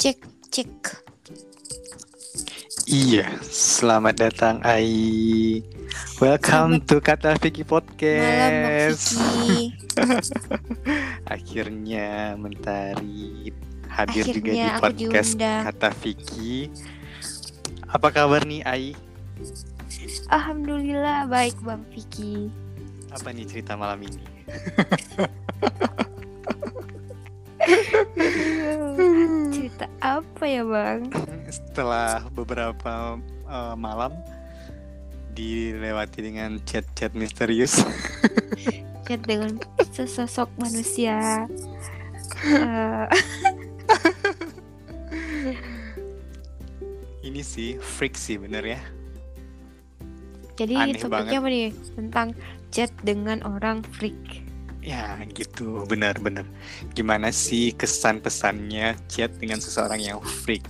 Cek, cek. Iya, selamat datang Ai. Welcome to Kata Vicky Malam Bang Podcast. Vicky. Akhirnya mentari hadir juga Akhirnya di aku podcast diundang. Kata Vicky. Apa kabar nih Ai? Alhamdulillah baik Bang Vicky. Apa nih cerita malam ini? Aduh, Cerita apa ya Bang? Setelah beberapa eh, malam dilewati dengan chat-chat misterius. Chat dengan sesosok manusia. Eh, ini sih freak sih bener ya. jadi Aneh topiknya apa nih? Tentang chat dengan orang freak. Ya gitu, benar-benar. Gimana sih kesan-pesannya chat dengan seseorang yang freak?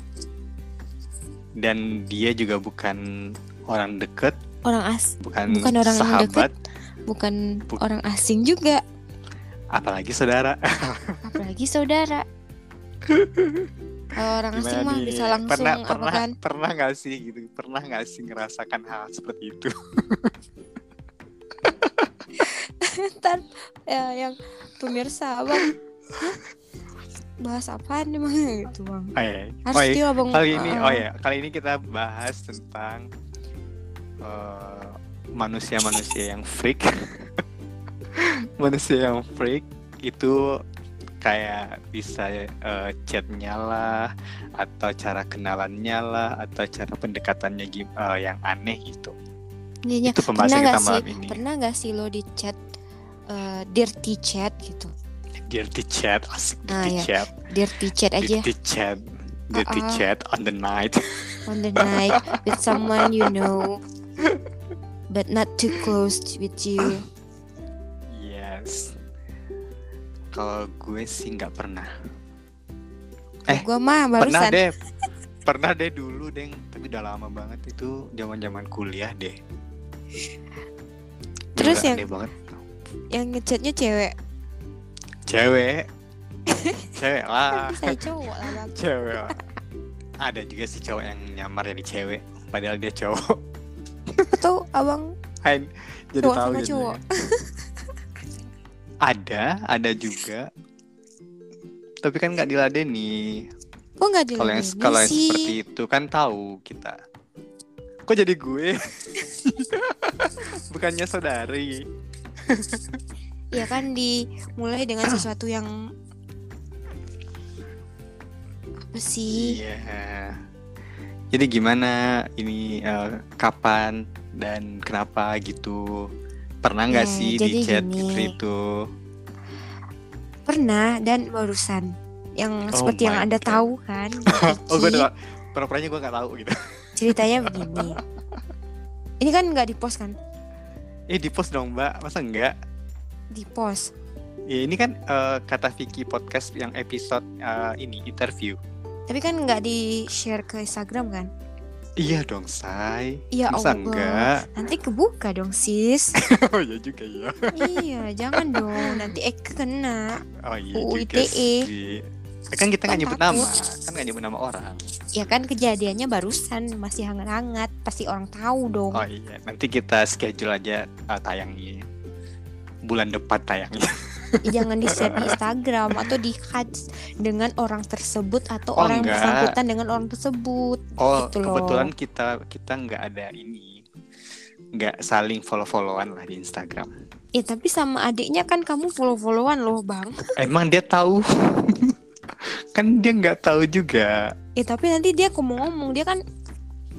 Dan dia juga bukan orang deket, Orang as bukan, Bukan orang yang sahabat, bukan Buk- orang asing juga, apalagi saudara. apalagi saudara. Kalau orang asing Gimana mah nih? bisa langsung pernah, apa pernah, kan? Pernah nggak sih gitu? Pernah nggak sih ngerasakan hal seperti itu? Ntar ya, yang pemirsa abang "Hah? bahas apaan emang gitu bang Oh, iya. harus Oh, iya. dia abang Kali ini, uh, oh ya, kali ini kita bahas tentang eh, manusia-manusia yang freak. manusia yang freak itu kayak bisa eh, chatnya lah, atau cara kenalannya lah, atau cara pendekatannya gim- eh, yang aneh gitu. ininya, Iya, Ya, Itu pernah pembahasan nggak kita sih malam ini. pernah nggak sih lo di chat eh, dirty chat gitu Dirty chat, asik Ah, Eh, ya. dirty iya. chat, dirty chat aja dirty chat, dirty Uh-uh. chat on the night. on the night with someone you know but not too close with you Yes. Kalau gue sih nggak pernah. Eh, gua mah Pernah barusan deh. Pernah deh dulu, Deng. Tapi udah lama banget itu zaman-zaman kuliah deh. Terus Gila, yang- aneh banget. yang ngechatnya cewek Cewek. cewek lah. saya cowok lah bang Cewek lah. Ada juga sih cowok yang nyamar jadi cewek. Padahal dia cowok. atau abang Hai, jadi Cowok tahu sama gitu cowok. ya. ada, ada juga. Tapi kan nggak diladeni. kok nggak Kalau yang diladenin kalau yang sih? seperti itu kan tahu kita. Kok jadi gue? Bukannya saudari. ya kan dimulai dengan sesuatu yang apa sih Iya. Jadi gimana ini eh, kapan dan kenapa gitu? Pernah nggak Ya, sih jadi di chat gitu? gini. seperti itu? pernah dan barusan yang Oh seperti yang my anda God. tahu kan Oh gue Vicky, udah pura-puranya gue nggak tahu gitu. ceritanya begini ini kan nggak di post kan Eh di post dong mbak, masa enggak? di post Ya, ini kan eh, kata Vicky podcast yang episode eh, ini interview. tapi kan nggak di share ke Instagram kan Iya dong say. Iya masa Allah. enggak? nanti kebuka dong sis Oh iya juga ya. iya jangan dong nanti eh kena Oh iya UU juga ITE. sih. Eh, Kan kita nggak Kan nyebut takut. nama, kan nggak nyebut nama orang. ya kan kejadiannya barusan masih hangat-hangat pasti orang tahu dong Oh iya, nanti kita schedule aja uh, tayangnya. Bulan depan tayangnya. Ya, jangan di share di Instagram atau di hats dengan orang tersebut atau Oh, orang yang enggak. bersangkutan dengan orang tersebut. Oh, Gitu loh. kebetulan kita kita nggak ada ini. Nggak saling follow-followan lah di Instagram. Ya tapi sama adiknya kan kamu follow-followan loh bang. Emang dia tahu? kan dia nggak tahu juga. Ya tapi nanti dia ngomong-ngomong dia kan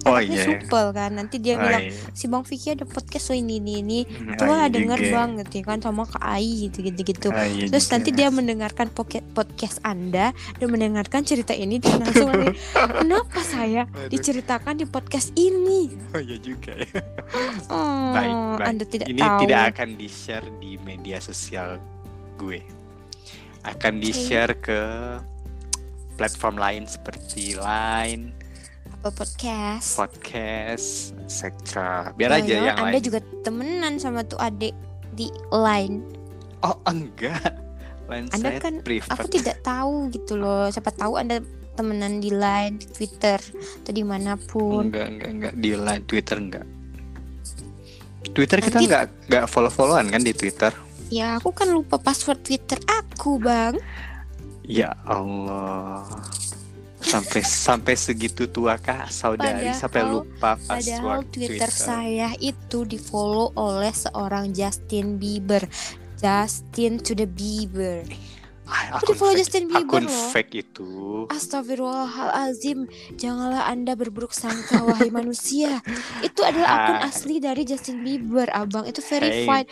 Oh dia iya. supel kan. Nanti dia Oh, bilang iya. si bang Vicky ada podcast lo ini ini ini. Hmm, oh, Coba lah iya denger juga. bang gitu ya kan sama Kak Ai gitu gitu gitu. Oh, iya Terus juga. nanti dia mendengarkan poke- podcast Anda dan mendengarkan cerita ini dan langsung nanti, kenapa saya Aduh, diceritakan di podcast ini? oh, iya juga ya. Oh, Baik, baik. Anda tidak ini tahu. tidak akan di share di media sosial gue akan di share ke platform lain seperti Line, Apple Podcast. podcast, etc. Biar aja Jangan-jangan yang Anda lain. juga temenan sama tuh adik di line. Oh enggak, Line Anda saya kan- private. Aku tidak tahu gitu loh. Siapa tahu Anda temenan di line di twitter atau dimanapun Enggak, enggak, enggak di line Twitter enggak. Twitter kita Nanti- enggak enggak follow-followan kan di Twitter. ya aku kan lupa password twitter aku bang Ya Allah. Sampai sampai segitu tua kah saudari sampai Padahal- lupa Padahal password Twitter, saya itu di follow oleh seorang Justin Bieber. Justin to the Bieber. Ah, Aku akun di follow fake, Justin Bieber akun loh. fake itu. Astagfirullahalazim, janganlah Anda berburuk sangka wahai manusia. Itu adalah akun Hai. asli dari Justin Bieber, Abang. Itu verified.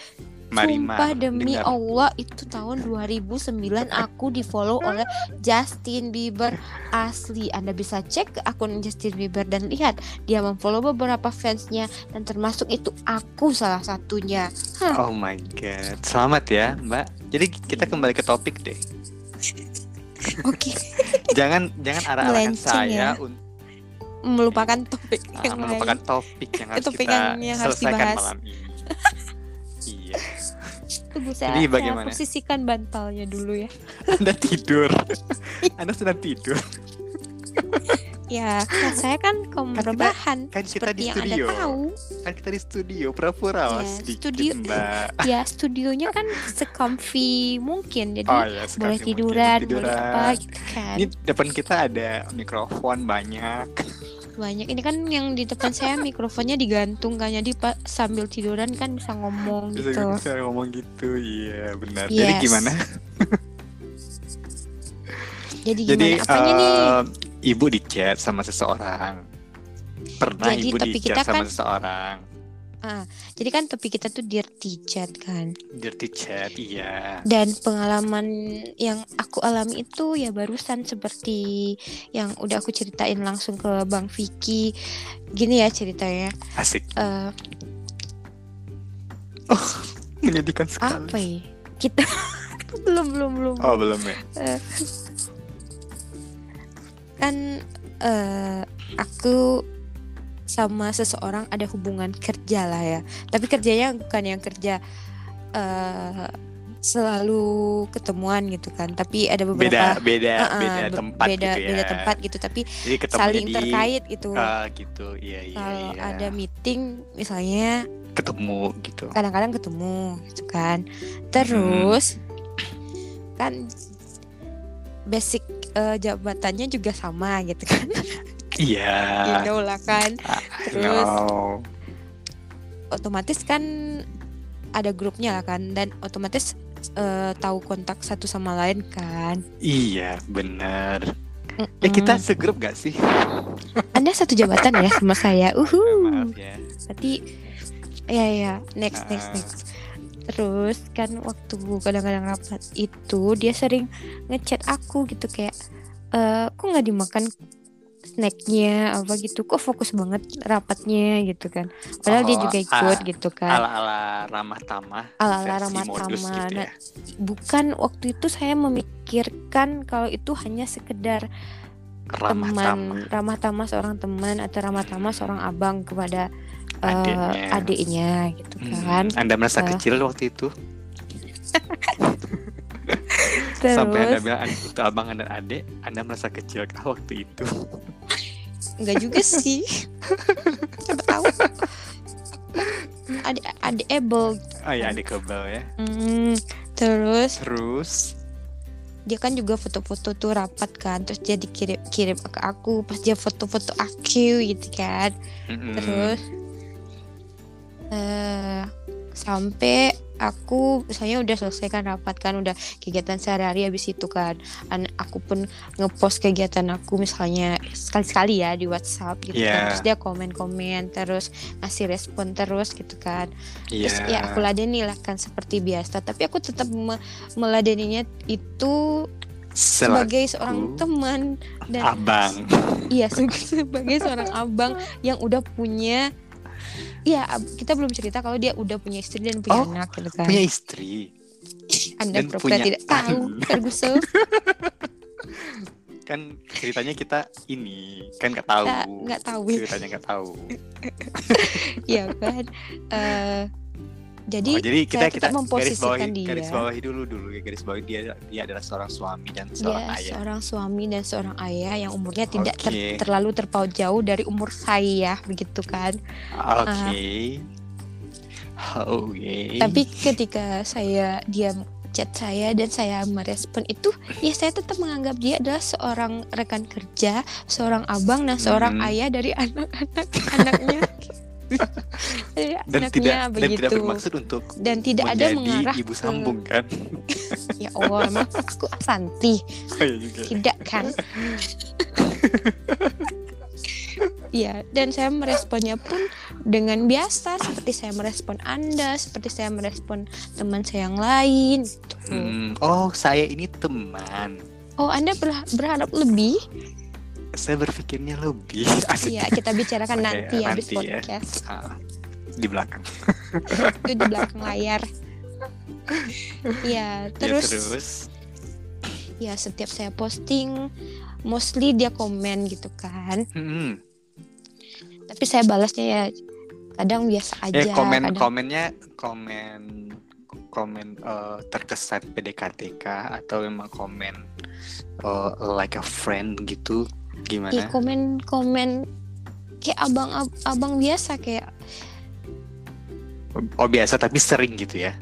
Marima, Sumpah demi dengar. Allah itu tahun 2009 aku di follow oleh Justin Bieber asli. Anda bisa cek ke akun Justin Bieber dan lihat dia memfollow beberapa fansnya dan termasuk itu aku salah satunya. Oh my god. Selamat ya, Mbak. Jadi kita kembali ke topik deh. Oke, Jangan jangan arah-arahkan Melenceng ya. saya untuk melupakan topik yang lain. Ah, melupakan topik yang harus Topik kita yang- yang harus selesaikan dibahas. malam ini. iya. Tunggu saya, Jadi saya bagaimana? posisikan bantalnya dulu ya. Anda tidur. Anda sedang tidur. Ya, kan saya kan kaum Kan kita- rebahan Kan kita seperti di yang Anda studio. tahu. Kan kita di studio pura-pura lah Ya, sedikit, studio. Mbak. Ya, studionya kan se-comfy mungkin. Jadi Oh ya, boleh sekali tiduran, mungkin boleh tiduran. apa gitu kan. Ini depan kita ada mikrofon banyak. Banyak. Ini kan yang di depan saya mikrofonnya digantung kan. Jadi Pak sambil tiduran kan bisa ngomong Bisa gitu. bisa ngomong gitu. Iya, benar. Jadi Yes. gimana? Jadi gimana Jadi apanya nih? eh, ibu di chat sama seseorang. Pernah Jadi, ibu tapi di kita chat sama kan- seseorang. Jadi kan topik kita tuh dirty chat kan. Dirty chat, iya. Dan pengalaman yang aku alami itu ya barusan seperti yang udah aku ceritain langsung ke Bang Vicky. Gini ya ceritanya. Asik. Eh, Menyedihkan sekali. apa ya? Kita belum belum belum. Oh, belum ya. kan eh, aku sama seseorang ada hubungan kerja lah ya tapi kerjanya bukan yang kerja eh, selalu ketemuan gitu kan tapi ada beberapa Beda beda eh, beda be- tempat beda, gitu ya. beda tempat gitu tapi Jadi ketemu saling di terkait gitu ah, gitu. Iya, iya, kalau iya. ada meeting misalnya ketemu gitu. kadang-kadang ketemu gitu kan terus kan basic eh, jabatannya juga sama gitu kan Iya. Indo lah kan terus No. otomatis kan ada grupnya lah kan dan otomatis eh, tahu kontak satu sama lain kan Iya, benar. Eh kita Mm-mm. segrup gak sih? anda satu jabatan ya sama saya Uhuh. uhu Maaf ya. Iya. berarti ya ya next next Ah. next terus kan waktu kadang-kadang rapat itu dia sering ngechat aku gitu kayak eh kok nggak dimakan snacknya apa gitu kok fokus banget rapatnya gitu kan padahal dia Oh, juga ikut ah, gitu kan Ala-ala ramah tamah. ala-ala versi ramah modus tamah gitu Nah, ya. bukan waktu itu saya memikirkan kalau itu hanya sekedar Ramah teman kan, tamah. ramah tamah seorang teman atau ramah tamah seorang abang kepada eh, Adiknya. adiknya gitu Hmm, kan Anda merasa Eh. kecil waktu itu sampai Anda terus bilang "Adik, itu abang dan adik, Anda merasa kecil kah waktu itu? nggak juga sih siapa tahu adik adik able Oh ya adik kebal ya. Hmm, terus Terus dia kan juga foto-foto tuh rapat kan terus dia dikirim kirim ke aku pas dia foto-foto aku gitu kan mm-mm. terus eh sampai aku saya udah selesaikan rapat kan udah kegiatan sehari-hari habis itu kan An- aku pun ngepost kegiatan aku misalnya sekali-sekali ya di WhatsApp gitu kan Iya. terus dia komen-komen terus ngasih respon terus gitu kan Iya. terus ya aku ladeni lah kan seperti biasa tapi aku tetap me- meladeninya itu Selaku sebagai seorang teman dan abang. Iya se- sebagai seorang abang yang udah punya Iya ab- kita belum cerita kalau dia udah punya istri dan punya Oh, anak gitu kan Punya istri. Anda dan pura-pura punya tidak tahu anak. Ferguson Kan ceritanya kita ini kan nggak tahu. Kita nggak tahu. Ceritanya nggak tahu. ya kan iya Eh, Jadi, Oh, jadi saya kita kita tetap garis bawahi memposisikan dia. garis bawahi dulu dulu ya garis bawahi dia dia adalah seorang suami dan seorang dia ayah. seorang suami dan seorang ayah yang umurnya tidak ter- Oke. terlalu terpaut jauh dari umur saya begitu kan. Oke. Oke. Tapi ketika saya dia chat saya dan saya merespon itu, ya saya tetap menganggap dia adalah seorang rekan kerja, seorang abang dan seorang Hmm. ayah dari anak-anak anaknya. dari dan anaknya tidak dan begitu. tidak bermaksud untuk Dan tidak ada menjadi mengarah ibu ke- sambung kan? ya Allah, emang aku Asanti. Oh, iya juga. tidak kan Iya, dan saya meresponnya pun dengan biasa seperti saya merespon Anda, seperti saya merespon teman saya yang lain. gitu. Hmm, oh, saya ini teman. Oh, Anda berha- berharap lebih? Saya berpikirnya lebih. Asik. Iya, kita bicarakan Oke, nanti habis nanti ya. podcast. Ah, di belakang. Iya, Itu di belakang layar. Iya, Ya, terus ya, terus. setiap saya posting mostly dia komen gitu kan. Hmm, Tapi saya balasnya ya kadang biasa aja, ya komen kadang komennya komen komen eh, terkesan PDKTK atau memang komen eh, like a friend gitu ya gimana? komen komen kayak abang ab- abang biasa kayak Oh biasa tapi sering gitu ya.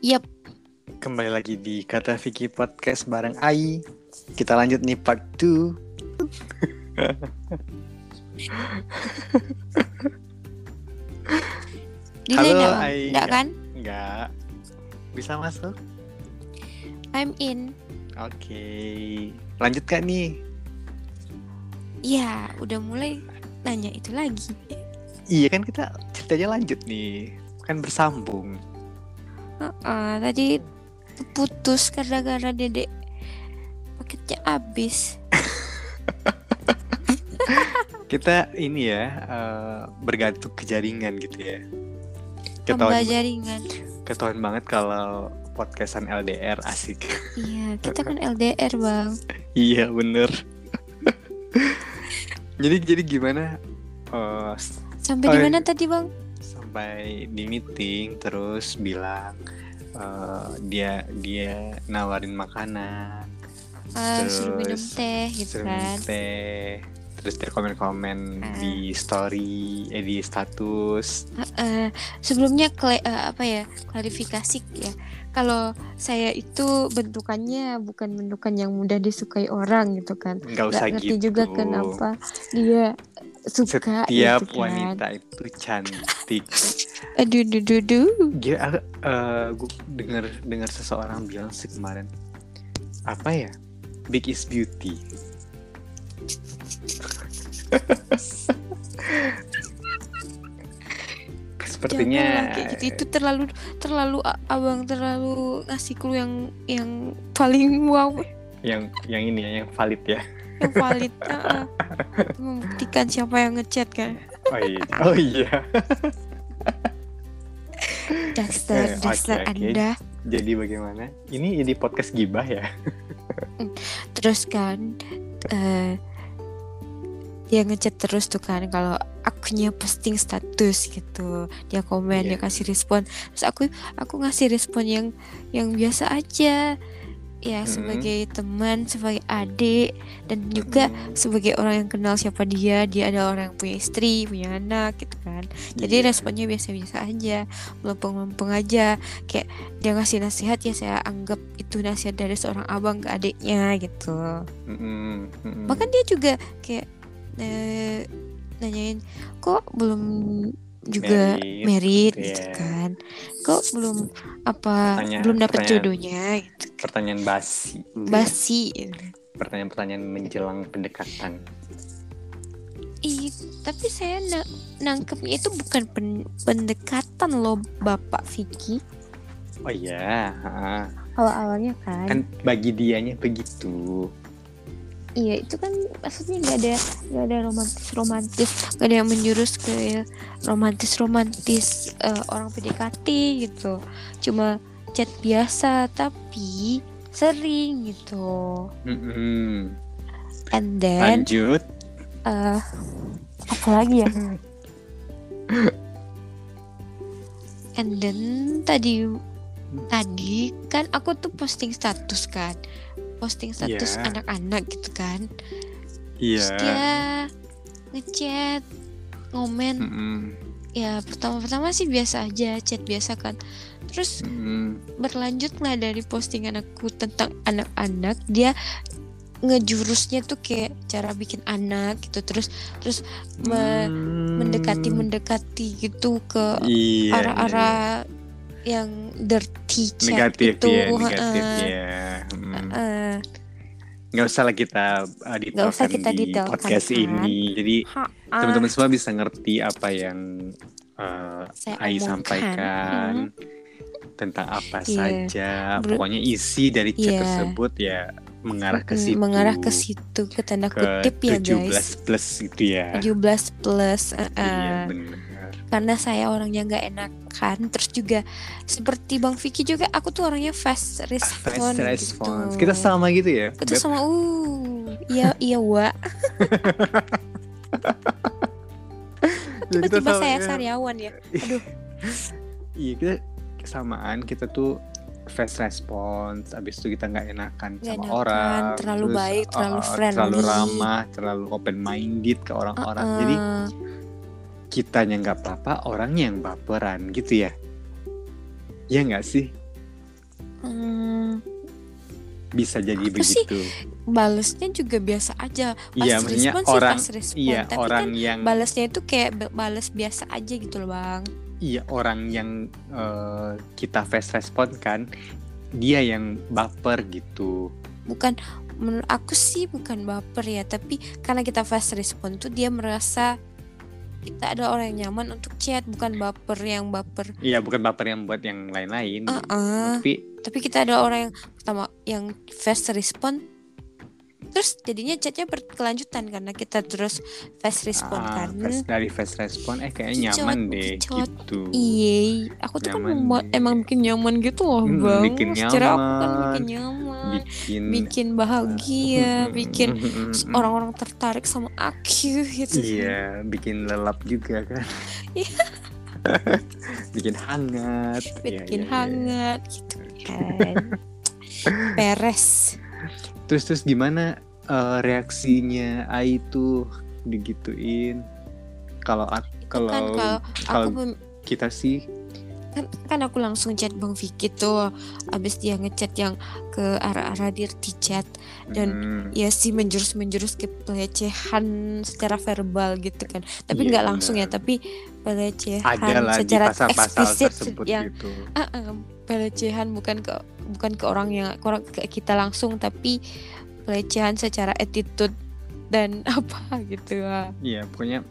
Yap. Kembali lagi di Kata Vicky Podcast bareng Ai. Kita lanjut nih part 2. delay Halo, nggak Bang? Ai. Nggak kan Enggak. Bisa masuk? I'm in Oke. Lanjut gak nih? ya udah mulai nanya itu lagi Iya kan kita ceritanya lanjut nih. Kan bersambung. Heeh, Ah, tadi putus gara-gara dedek paketnya habis Kita ini ya eh, bergantung ke jaringan gitu ya. tambah Ketahuan jaringan ketahuan banget kalau podcastan LDR asik. iya kita kan LDR bang Iya bener Jadi jadi gimana eh, s- sampai Oh, di iya. mana tadi bang sampai di meeting terus bilang eh, dia dia nawarin makanan, Eh, suruh minum Terus, teh gitu suruh kan minum teh, terus dia komen-komen Ah. di story, eh di status. Eh, sebelumnya kle- eh, apa ya klarifikasi ya kalau saya itu bentukannya bukan bentukan yang mudah disukai orang gitu kan Nggak usah nggak ngerti gitu. juga kenapa dia suka Setiap gitu kan. wanita itu cantik. aduh duh, duh, duh. Gila, eh gue denger dengar seseorang bilang sih kemarin apa ya big is beauty. Janganlah Sepertinya kayak gitu itu terlalu terlalu a- abang terlalu ngasih clue yang yang paling wow yang yang ini ya yang valid ya. yang valid Heeh. membuktikan siapa yang ngechat kan Oh iya. Oh iya. Dexter Eh, oke, Dexter oke. anda Jadi bagaimana? Ini jadi podcast gibah ya. terus kan eh dia ngechat terus tuh kan kalau akunya posting status gitu dia komen Iya. dia kasih respon terus aku aku ngasih respon yang yang biasa aja ya Mm-mm. sebagai teman sebagai adik dan juga Hmm, sebagai orang yang kenal siapa dia dia ada orang yang punya istri punya anak gitu kan jadi Iya. responnya biasa-biasa aja melempeng-lempeng aja kayak dia ngasih nasihat ya saya anggap itu nasihat dari seorang abang ke adiknya gitu Hmm. Mm-mm, mm-mm. bahkan dia juga kayak eh, nanyain kok belum juga Merit, merit gitu gitu ya. kan kok belum apa Pertanyaan- belum dapat pertanyaan. jodohnya gitu. pertanyaan basi. basi gitu. Pertanyaan-pertanyaan menjelang pendekatan. Ih, Iya, tapi saya na- nangkepnya itu bukan pen- pendekatan loh Bapak Vicky. Oh iya. ha. Awal-awalnya kan. kan bagi dianya begitu Iya, itu kan maksudnya nggak ada nggak ada romantis-romantis, nggak ada yang menjurus ke romantis-romantis eh, orang PDKT gitu. Cuma chat biasa, tapi sering gitu Mm-mm. and then Lanjut. eh apa lagi ya and then tadi tadi kan aku tuh posting status kan posting status Iya. anak-anak gitu kan Iya. terus dia ngechat ngomen Mm-mm. ya pertama-pertama sih biasa aja chat biasa kan terus Mm-mm. berlanjut lah dari postingan aku tentang anak-anak dia ngejurusnya tuh kayak cara bikin anak gitu terus Me- Mm. mendekati mendekati gitu ke Iya, iya. arah-arah yang dirty chat negatif gitu eh, ya negatif Heeh, ya Mm. heeh. nggak usah lah kita uh, usah detailkan kita di detailkan, Ah. podcast kan? ini jadi Ha-ah, teman-teman semua bisa ngerti apa yang uh, saya omongkan. Ai Mm. sampaikan tentang Iya. apa saja Ber- pokoknya isi dari chat Iya. tersebut ya mengarah ke Mm, situ mengarah ke situ ke tanda ke kutip ya guys 17 plus gitu ya 17 plus eh, eh. iya benar karena saya orangnya nggak enakan terus juga seperti Bang Vicky juga aku tuh orangnya fast respon Ah, fast response gitu. kita sama gitu ya aku tuh Beb? sama uh iya iya wa Kita tiba-tiba sama, saya ya. sariawan ya Iya kita kesamaan kita tuh fast response abis itu kita nggak enakan Nggak sama enakan, orang terlalu baik, terlalu uh, friendly. terlalu ramah terlalu open minded ke orang-orang jadi Eh, kitanya nggak apa-apa orangnya yang baperan gitu ya ya nggak sih hmm, bisa jadi Apa sih? begitu balesnya juga biasa aja fast iya maksudnya respon orang sih fast respon iya tapi orang kan yang balesnya itu kayak ba- bales biasa aja gitu loh bang iya orang yang eh, kita fast response kan dia yang baper gitu bukan menurut aku sih bukan baper ya tapi karena kita fast respon tuh dia merasa kita ada orang yang nyaman untuk chat bukan baper yang baper iya bukan baper yang buat yang lain-lain ah ah. tapi tapi kita ada orang yang pertama yang fast respon terus jadinya chatnya berkelanjutan karena kita terus fast respon Ah, kan fast- dari fast respon eh kayaknya Kicot, nyaman deh kicot. gitu. Iya, aku tuh Nyaman kan membuat- nih. emang bikin nyaman gitu loh Hmm, bang. bikin Secara aku kan nyaman. bikin nyaman, Bikin Hmm, bikin bahagia, bikin orang-orang tertarik sama aku gitu. Iya, bikin lelap juga kan. bikin hangat. Iya, iya, Iya. bikin iya. hangat gitu kan. Peres. Terus terus gimana eh, reaksinya Ai tuh digituin? Kalau ak- Itu kan kalau kalau aku kalau mem- kita sih kan, kan aku langsung chat Bang Vicky tuh abis dia ngechat yang ke arah-arah dirty chat Dan- mm, ya sih menjurus-menjurus ke pelecehan secara verbal gitu kan tapi Iya, nggak langsung ya benar. tapi pelecehan ada lah di kan secara pasal-pasal eksplisit tersebut yang gitu. Ah, ah, pelecehan bukan ke bukan ke orang yang ke, orang- ke kita langsung tapi pelecehan secara attitude dan apa gitu ah. Iya, pokoknya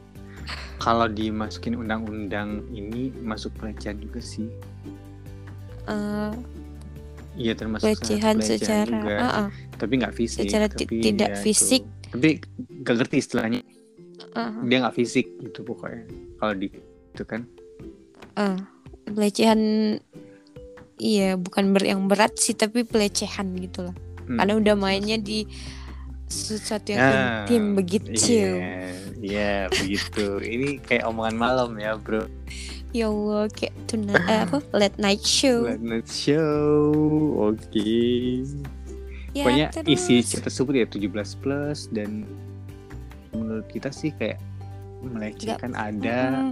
kalau dimasukin undang-undang ini masuk pelecehan juga sih. Eh, Iya termasuk salah satu pelecehan secara juga. ah, ah, Tapi nggak fisik. secara ti- tapi tidak ya itu. fisik. Tapi gak ngerti istilahnya. ah, Dia nggak fisik gitu pokoknya. Kalau di itu kan. ah. pelecehan iya bukan ber yang berat sih tapi pelecehan gitu lah Hmm. karena udah mainnya di sesuatu yang Ah, intim begitu Iya, iya begitu. Ini kayak omongan malam ya bro. ya Allah kayak tuna eh, apa late night show Late night show. Oke. ya Pokoknya terus. isi chat tersebut ya 17 plus dan menurut kita sih kayak melecehkan ada.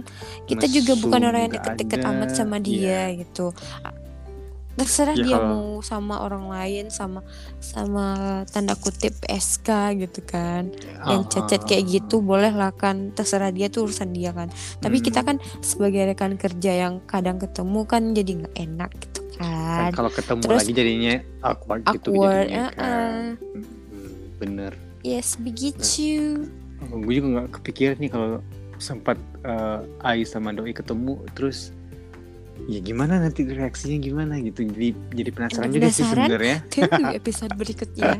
Mm, kita juga bukan mesum orang yang juga deket-deket ada, Iya. amat sama dia gitu A- terserah Ya, dia kalau- mau sama orang lain sama sama tanda kutip SK gitu kan yang Ah, cacat kayak gitu boleh lah kan terserah dia tuh urusan dia kan tapi Hmm. kita kan sebagai rekan kerja yang kadang ketemu kan jadi nggak enak gitu kan Kan kalau ketemu Terus- lagi jadinya awkward, gitu Awkward, jadinya kan. uh-uh. Mm, Bener. yes Nah. begitu Oh, gue juga nggak kepikiran nih kalau sempat eh, Ai sama Doi ketemu terus ya gimana nanti reaksinya gimana gitu jadi jadi penasaran, juga sih Penasaran? sebenarnya tunggu episode berikutnya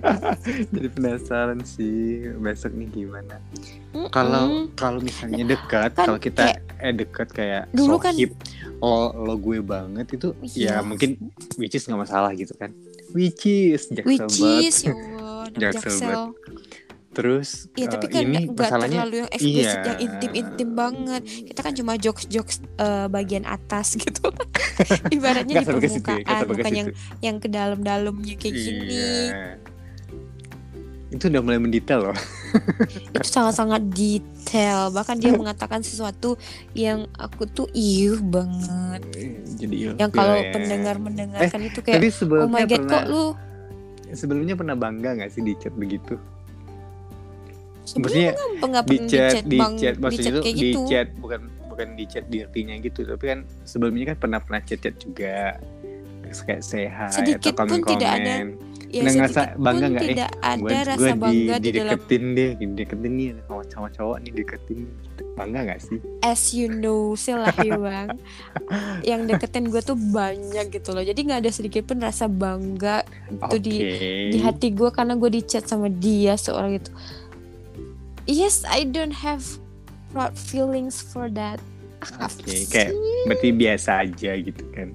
jadi penasaran sih besok nih gimana kalau Mm-mm. kalau misalnya dekat Hmm. Kan kalau kita eh dekat kayak Dulu kan- sohib, lo lo gue banget itu Iya. ya mungkin which is nggak masalah gitu kan which is jaksel Which banget. is ya Allah anak Jaksel jaksel. terus Iya tapi eh, kan ini nggak masalahnya terlalu yang eksplisit, iya. yang intim-intim banget. Kita kan cuma jokes-jokes eh, bagian atas gitu. Ibaratnya di nggak sampai ke situ ya, nggak permukaan, sampai ke bukan yang situ. yang ke dalam-dalamnya kayak gini. Iya. itu udah mulai mendetail loh Itu sangat-sangat detail. Bahkan dia mengatakan sesuatu yang aku tuh iuh banget. jadi iya. Yang kalau Iya, iya. pendengar mendengarkan itu kayak tapi Oh sebelumnya my god pernah kok lu sebelumnya pernah bangga nggak sih di chat begitu sebenarnya kenapa nggak di pernah di chat di bang chat di maksudnya chat tuh kayak di gitu chat bukan bukan di chat dirinya gitu tapi kan sebelumnya kan pernah pernah chat chat juga Terus kayak sehat atau Sedikit pun komen tidak ada komen ya Nggak Nah, ngerasa sedikit bangga pun nggak? Eh, tidak ada gua, rasa gua bangga di, di, dalam dideketin deh dideketin nih sama cowok cowok nih deketin Gitu. bangga nggak sih as you know lah ya bang yang deketin gue tuh banyak gitu loh jadi nggak ada sedikit pun rasa bangga oke di- di hati gue karena gue di chat sama dia seorang itu yes I don't have proud feelings for that Ah, Oke, kayak berarti biasa aja gitu kan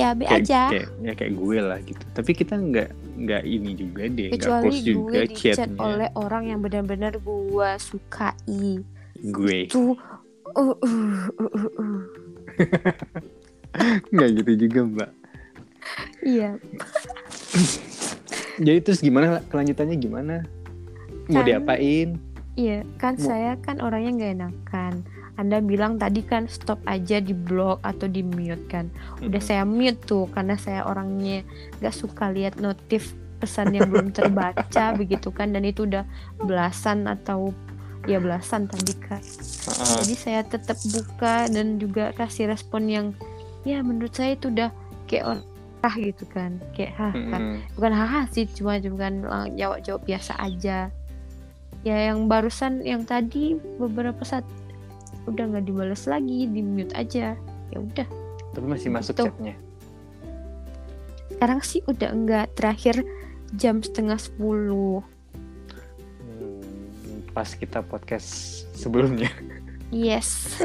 ya be kayak, aja kayak ya kayak gue lah gitu tapi kita nggak nggak ini juga deh nggak kecuali close juga gue di chat chatnya oleh orang yang benar-benar gue sukai gue tuh uh, uh, uh, uh, uh. nggak gitu juga mbak iya Jadi terus gimana kelanjutannya gimana? Mau Kan- diapain? iya kan Mau- saya kan orangnya nggak enakan anda bilang tadi kan stop aja di blog atau di mute kan udah saya mute tuh karena saya orangnya nggak suka lihat notif pesan yang belum terbaca begitu kan dan itu udah belasan atau ya belasan tadi kan Heeh. jadi saya tetap buka dan juga kasih respon yang ya menurut saya itu udah kayak orang gitu kan kayak hah kan Ah, Mm-mm. bukan haha sih cuma bukan jawab jawab biasa aja ya yang barusan yang tadi beberapa saat udah nggak dibales lagi di mute aja ya udah Tapi masih masuk Gitu. chatnya. sekarang sih udah enggak terakhir jam setengah sepuluh Hmm, pas kita podcast sebelumnya. yes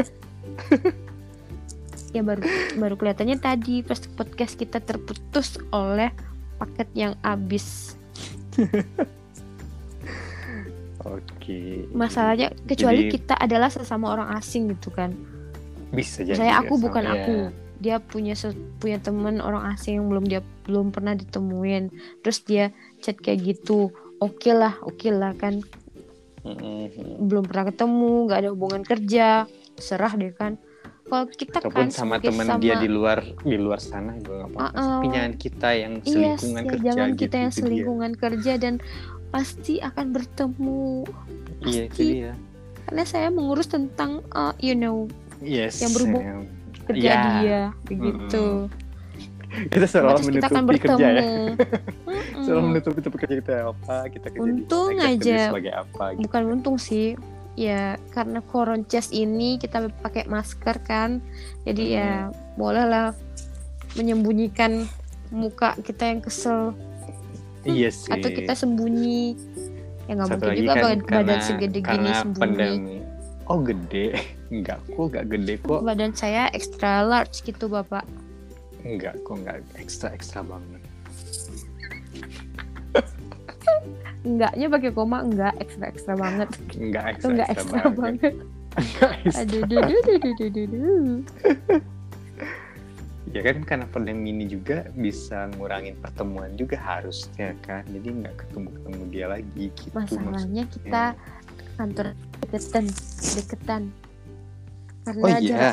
ya baru baru kelihatannya tadi pas podcast kita terputus oleh paket yang habis Oke. masalahnya kecuali Jadi- kita adalah sesama orang asing gitu kan Bisa jadi. saya ya, aku sama- bukan ya. aku dia punya se- punya temen orang asing yang belum dia belum pernah ditemuin terus dia chat kayak gitu oke lah oke lah kan Mm-mm. belum pernah ketemu nggak ada hubungan kerja serah deh kan kalau kita kan Ataupun sama sebagai teman sama- dia di luar di luar sana juga nggak apa-apa. Uh-uh. Tapi jangan kita yang Iya, selingkungan ya, kerja jangan gitu. kita yang itu dia. selingkungan kerja dan pasti akan bertemu Iya, itu Pasti. dia. karena saya mengurus tentang uh, you know Yes. Yang berhubung- Sam. kerja Ya. dia begitu Kita selalu terus kita akan menutupi bertemu kerja ya. Selalu Mm-mm. menutupi topik kerja kita apa, kita kerja di Untung mana, kita kerja aja. sebagai apa gitu. bukan untung sih ya karena koronces ini kita pakai masker kan jadi ya bolehlah menyembunyikan muka kita yang kesel Iya sih. atau kita sembunyi ya nggak Satu mungkin lagi juga kan badan, karena, badan segede gini karena sembunyi pandemi. Oh gede, enggak kok, enggak gede kok, badan saya extra large gitu bapak enggak kok, enggak ekstra ekstra banget. enggaknya pakai koma enggak extra extra banget Enggak itu ekstra, enggak ekstra, extra banget. banget Enggak ekstra. aduh duh, duh, duh, duh, duh, duh, duh. Ya kan karena pandemi ini juga bisa ngurangin pertemuan juga harusnya kan, jadi enggak ketemu ketemu dia lagi gitu. maksudnya. masalahnya kita Iya. kantor deketan deketan karena Oh jarak iya,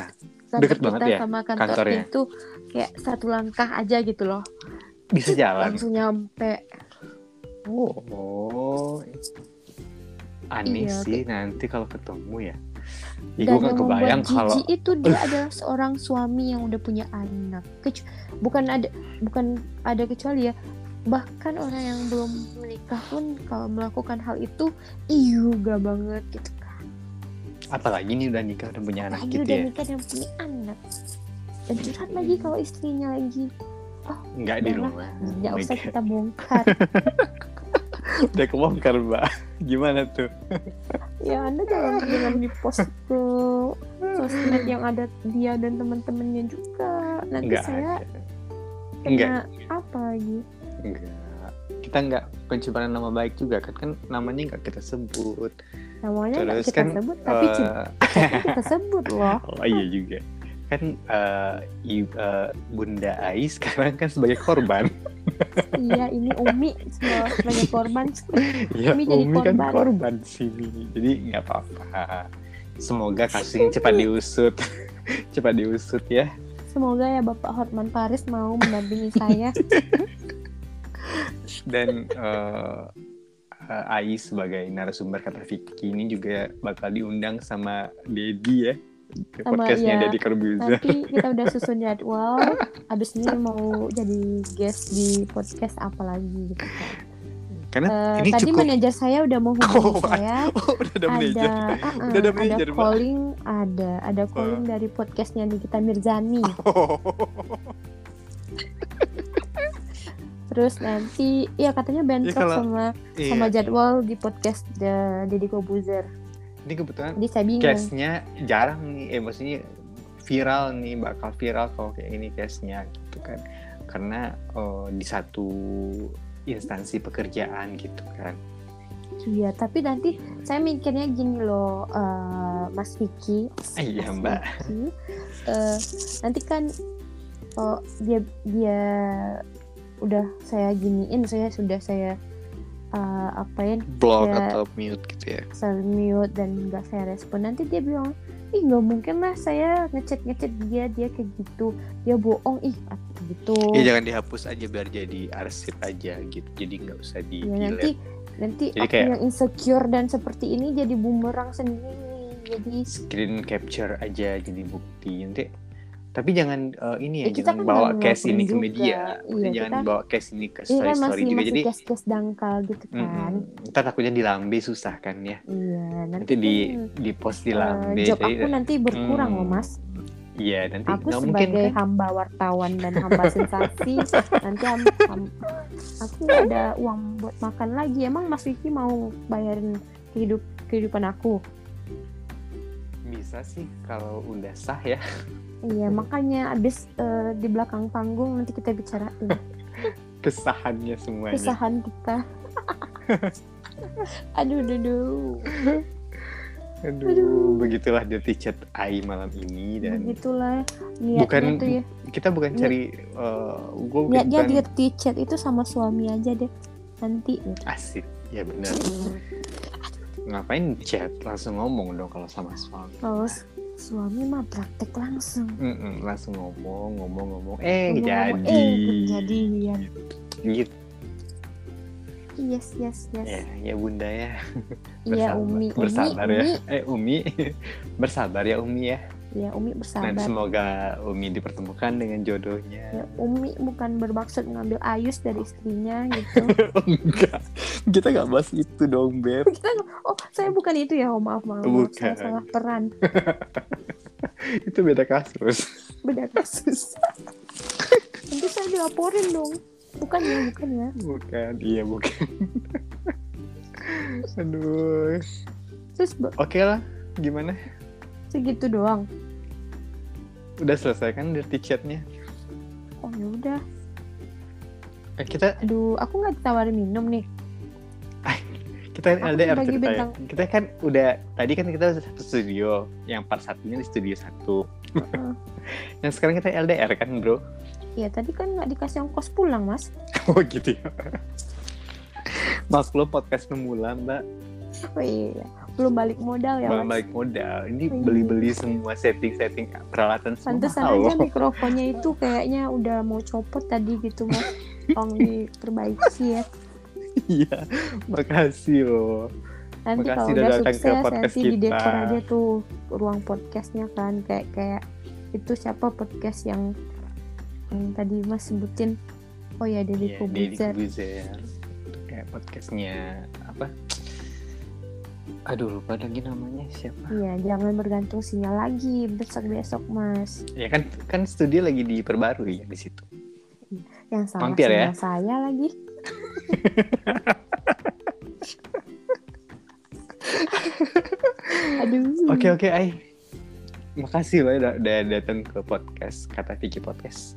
kantor Deket kita banget ya sama kantor kantornya? itu kayak satu langkah aja gitu loh bisa jalan. langsung nyampe Oh, oh. aneh Iya, sih nanti kalau ketemu ya. dan Ya, gue gak yang kebayang membuat kalau jijik itu dia adalah seorang suami yang udah punya anak Kecu- bukan ada bukan ada kecuali ya bahkan orang yang belum menikah pun kalau melakukan hal itu iuga banget gitu apalagi ini udah nikah udah punya anak Apalagi gitu udah ya. nikah dan punya anak dan curhat lagi kalau istrinya lagi Enggak di Udah lah, rumah. nggak usah gitu. Udah- kita bongkar Udah kebongkar, Mbak. Gimana tuh? ya anda jangan Ah. jangan di post ke sosmed yang ada dia dan teman-temannya juga nanti Enggak saya ada. kena Enggak, apa lagi Enggak. Kita nggak pencemaran nama baik juga kan kan namanya nggak kita sebut. namanya nggak Terus kita kan sebut tapi eh, cita kita sebut loh Oh iya juga. Kan eh, i- eh, Bunda Ai sekarang kan sebagai korban. iya ini Umi semua sebagai korban ya Umi jadi Umi kan korban. korban sini. Jadi nggak apa-apa. Semoga kasusnya cepat diusut. cepat diusut ya. semoga ya Bapak Hotman Paris mau mendampingi saya Dan eh, eh, Ai sebagai narasumber kata Vicky ini juga bakal diundang sama Dedi ya. Ke Sama, podcastnya iya. Dedi Corbuzier. nanti kita udah susun jadwal abis ini mau jadi guest di podcast apa lagi gitu kan. Karena Eh, Nah, ini tadi cukup. manajer saya udah mau hubungi Oh, saya Oh, udah ada ada manajer. ah, ah, Udah ada ada, manajer, Mbak. calling ada ada calling dari podcastnya Nikita Mirzani terus nanti ya katanya bentrok kalau- sama Iya. sama jadwal di podcast The Deddy Kobuzer Ini kebetulan jadi saya bingung case-nya jarang nih, eh maksudnya viral nih, bakal viral kalau kayak ini case-nya gitu kan. Karena eh, di satu instansi pekerjaan gitu kan. iya tapi nanti saya mikirnya gini loh eh, Mas Vicky Iya, Mas Mbak. Vicky, eh, nanti kan oh dia dia udah saya giniin saya sudah saya eh, apain Blog Ya. atau mute gitu ya. saya mute dan nggak saya respon nanti dia bilang ih nggak mungkin lah saya ngechat ngechat dia dia kayak gitu dia bohong ih gitu Ya jangan dihapus aja biar jadi arsip aja gitu. Jadi nggak usah di ya nanti nanti Jadi aku kayak- yang insecure dan seperti ini jadi bumerang sendiri jadi screen capture aja jadi bukti nanti tapi jangan eh, ini ya, Ya, kita jangan kan bawa nggak case ini ke ngelakuin media juga. Maksudnya Iya, jangan kita- bawa case ini ke ini story kan story masih juga masih jadi kes-kes dangkal gitu kan mm, ntar takutnya di lambe susah kan ya iya nanti, nanti di kan, di post di eh, lambe job jadi aku nanti berkurang Hmm. loh mas iya nanti aku nggak mungkin sebagai kan hamba wartawan dan hamba sensasi nanti ham- ham- aku nggak ada uang buat makan lagi emang mas Vicky mau bayarin kehidup kehidupan aku bisa sih kalau udah sah ya iya makanya abis eh, di belakang panggung nanti kita bicarain kesahannya semuanya kesahan kita. aduh, aduh, aduh. aduh, Aduh. begitulah dirty chat AI malam ini dan Begitulah niatnya Iya, Bukan- tuh ya. kita bukan cari gue bukan, Niatnya dirty chat itu sama suami aja deh. Nanti asik ya benar ngapain chat langsung ngomong dong kalau sama suami kalau Oh, s- suami mah praktek langsung. Mm-mm, langsung ngomong ngomong ngomong eh Ngomong-ngomong, jadi eh, kejadian. gitu Yes, yes, ya yes. ya bunda ya Iya, Umi. Umi, bersabar ya Umi. eh umi bersabar ya umi ya Iya, Umi dan bersabar. semoga umi dipertemukan dengan Ya, jodohnya Umi bukan bermaksud mengambil ayus dari istrinya gitu. enggak kita nggak bahas itu dong beb Kita oh, saya bukan itu ya. Oh, maaf, maaf. maaf. Saya Bukan. salah peran. itu beda kasus beda kasus nanti saya dilaporin dong bukan ya bukan ya bukan iya bukan aduh terus be- oke lah gimana segitu doang udah selesai kan dirty chatnya oh ya udah Eh, kita aduh aku nggak ditawarin minum nih kita Aku LDR bagi ceritanya. bintang. kita kan udah tadi kan kita satu studio yang part satunya di studio satu Heeh. nah sekarang kita LDR kan bro ya tadi kan nggak dikasih ongkos pulang mas oh gitu ya maklum podcast pemula mbak oh iya belum balik modal ya belum mas balik modal ini Iya. beli beli semua setting setting peralatan semua pantesan mahal aja loh. mikrofonnya itu kayaknya udah mau copot tadi gitu mas tolong diperbaiki ya iya makasih loh nanti Makasih kalau udah udah datang ke sukses podcast nanti di dekor kita. aja tuh ruang podcastnya kan kayak kayak itu siapa podcast yang, yang tadi mas sebutin oh ya Deddy Iya, Deddy Kobuzer Corbuzier. kayak podcastnya apa aduh lupa lagi namanya siapa Iya, jangan bergantung sinyal lagi besok besok mas. ya kan kan studio lagi diperbarui ya di situ Yang salah Mampir ya. sinyal saya lagi. Aduh. Oke oke Ai. Makasih loh udah, udah datang ke podcast kata Vicky Podcast.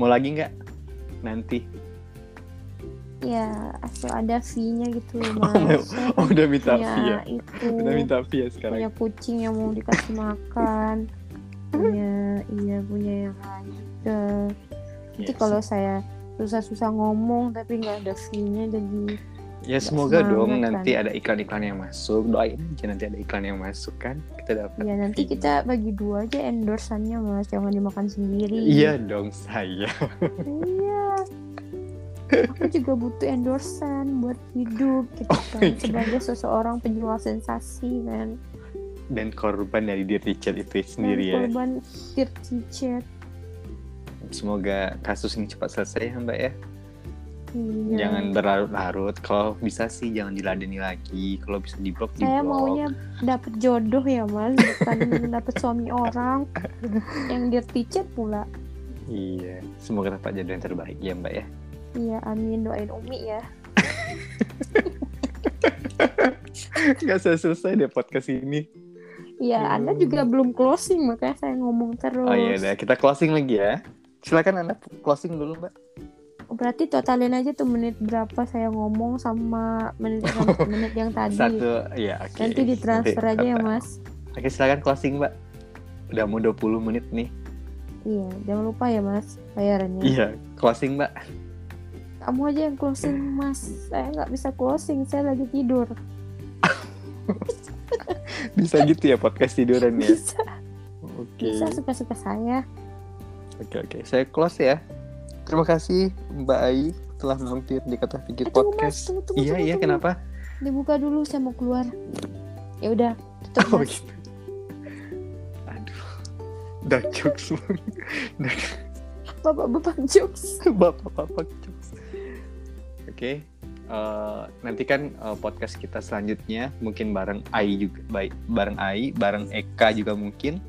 Mau lagi nggak? nanti ya asal ada fee-nya gitu mas my- Saya oh, udah minta punya fee ya itu udah minta Iya, fee ya sekarang punya kucing yang mau dikasih makan punya iya punya yang lain juga nanti Yes. kalau saya susah-susah ngomong tapi nggak ada fee-nya jadi ya semoga dong semangat, nanti kan. ada iklan-iklan yang masuk doain aja nanti ada iklan yang masuk kan kita dapat ya nanti fee. kita bagi dua aja endorsannya mas jangan dimakan sendiri iya dong saya Iya. Aku juga butuh endorsan buat hidup gitu kan. my God. Sebagai seseorang penjual sensasi kan. dan korban dari diri Richard itu Dan sendiri ya Korban dirty chat. semoga kasus ini cepat selesai ya mbak ya Iya. jangan berlarut-larut kalau bisa sih jangan diladeni lagi kalau bisa diblok diblok Saya maunya dapet jodoh ya mas, bukan dapet suami orang yang dirty chat pula. iya semoga dapat jadi yang terbaik ya mbak ya Iya, amin doain Umi ya. nggak selesai selesai deh podcast ini Iya, Aduh. Anda juga belum closing makanya saya ngomong terus. oh iya udah kita closing lagi ya silakan anda closing dulu mbak Berarti totalin aja tuh menit berapa saya ngomong sama menit menit yang tadi. satu ya oke Nanti ditransfer Nanti aja ya kata- mas oke silakan closing mbak udah mau 20 menit nih Iya jangan lupa ya mas bayarannya iya closing mbak Kamu aja yang closing mas Saya nggak bisa closing saya lagi tidur bisa gitu ya podcast tiduran ya Bisa oke bisa suka-suka saya Oke oke, saya close ya. Terima kasih Mbak Ai telah mampir di kata pikir Eh, tunggu mas podcast. tunggu tunggu Iya tunggu, iya tunggu. kenapa? Dibuka dulu saya mau keluar Ya udah tutup Oh mas gitu. Aduh, dark jokes banget. Dark Bapak-bapak jokes bapak bapak jokes. Oke, eh, nantikan eh, podcast kita selanjutnya mungkin bareng Ai juga, baik bareng Ai, bareng Eka juga mungkin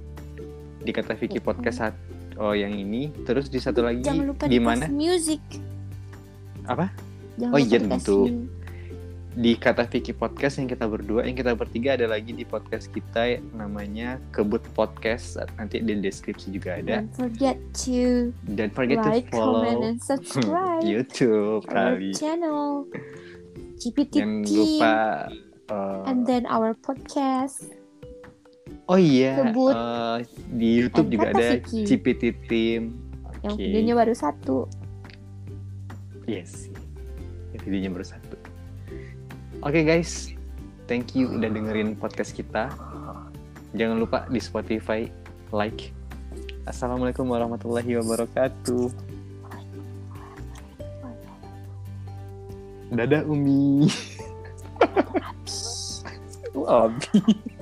di kata Vicky podcast saat oh, yang ini. Terus di satu lagi Iya. Jangan lupa di mana? dikasih music Apa? Jangan Oh, lupa iya, dikasih- tentu. di kata Vicky podcast yang kita berdua yang kita bertiga ada lagi di podcast kita namanya kebut podcast nanti di deskripsi juga ada Don't forget to dan Ya. forget Iya. like, to follow Iya comment, and subscribe YouTube Our kali channel GPT jangan lupa eh, And then our podcast oh iya Kebut. eh, di YouTube And juga Kata ada Vicky. CPT Team yang Oke. videonya baru satu. Yes. Itu videonya baru satu. Oke guys, thank you udah dengerin podcast kita. Jangan lupa di Spotify like. Assalamualaikum warahmatullahi wabarakatuh. Dadah Umi. Abi.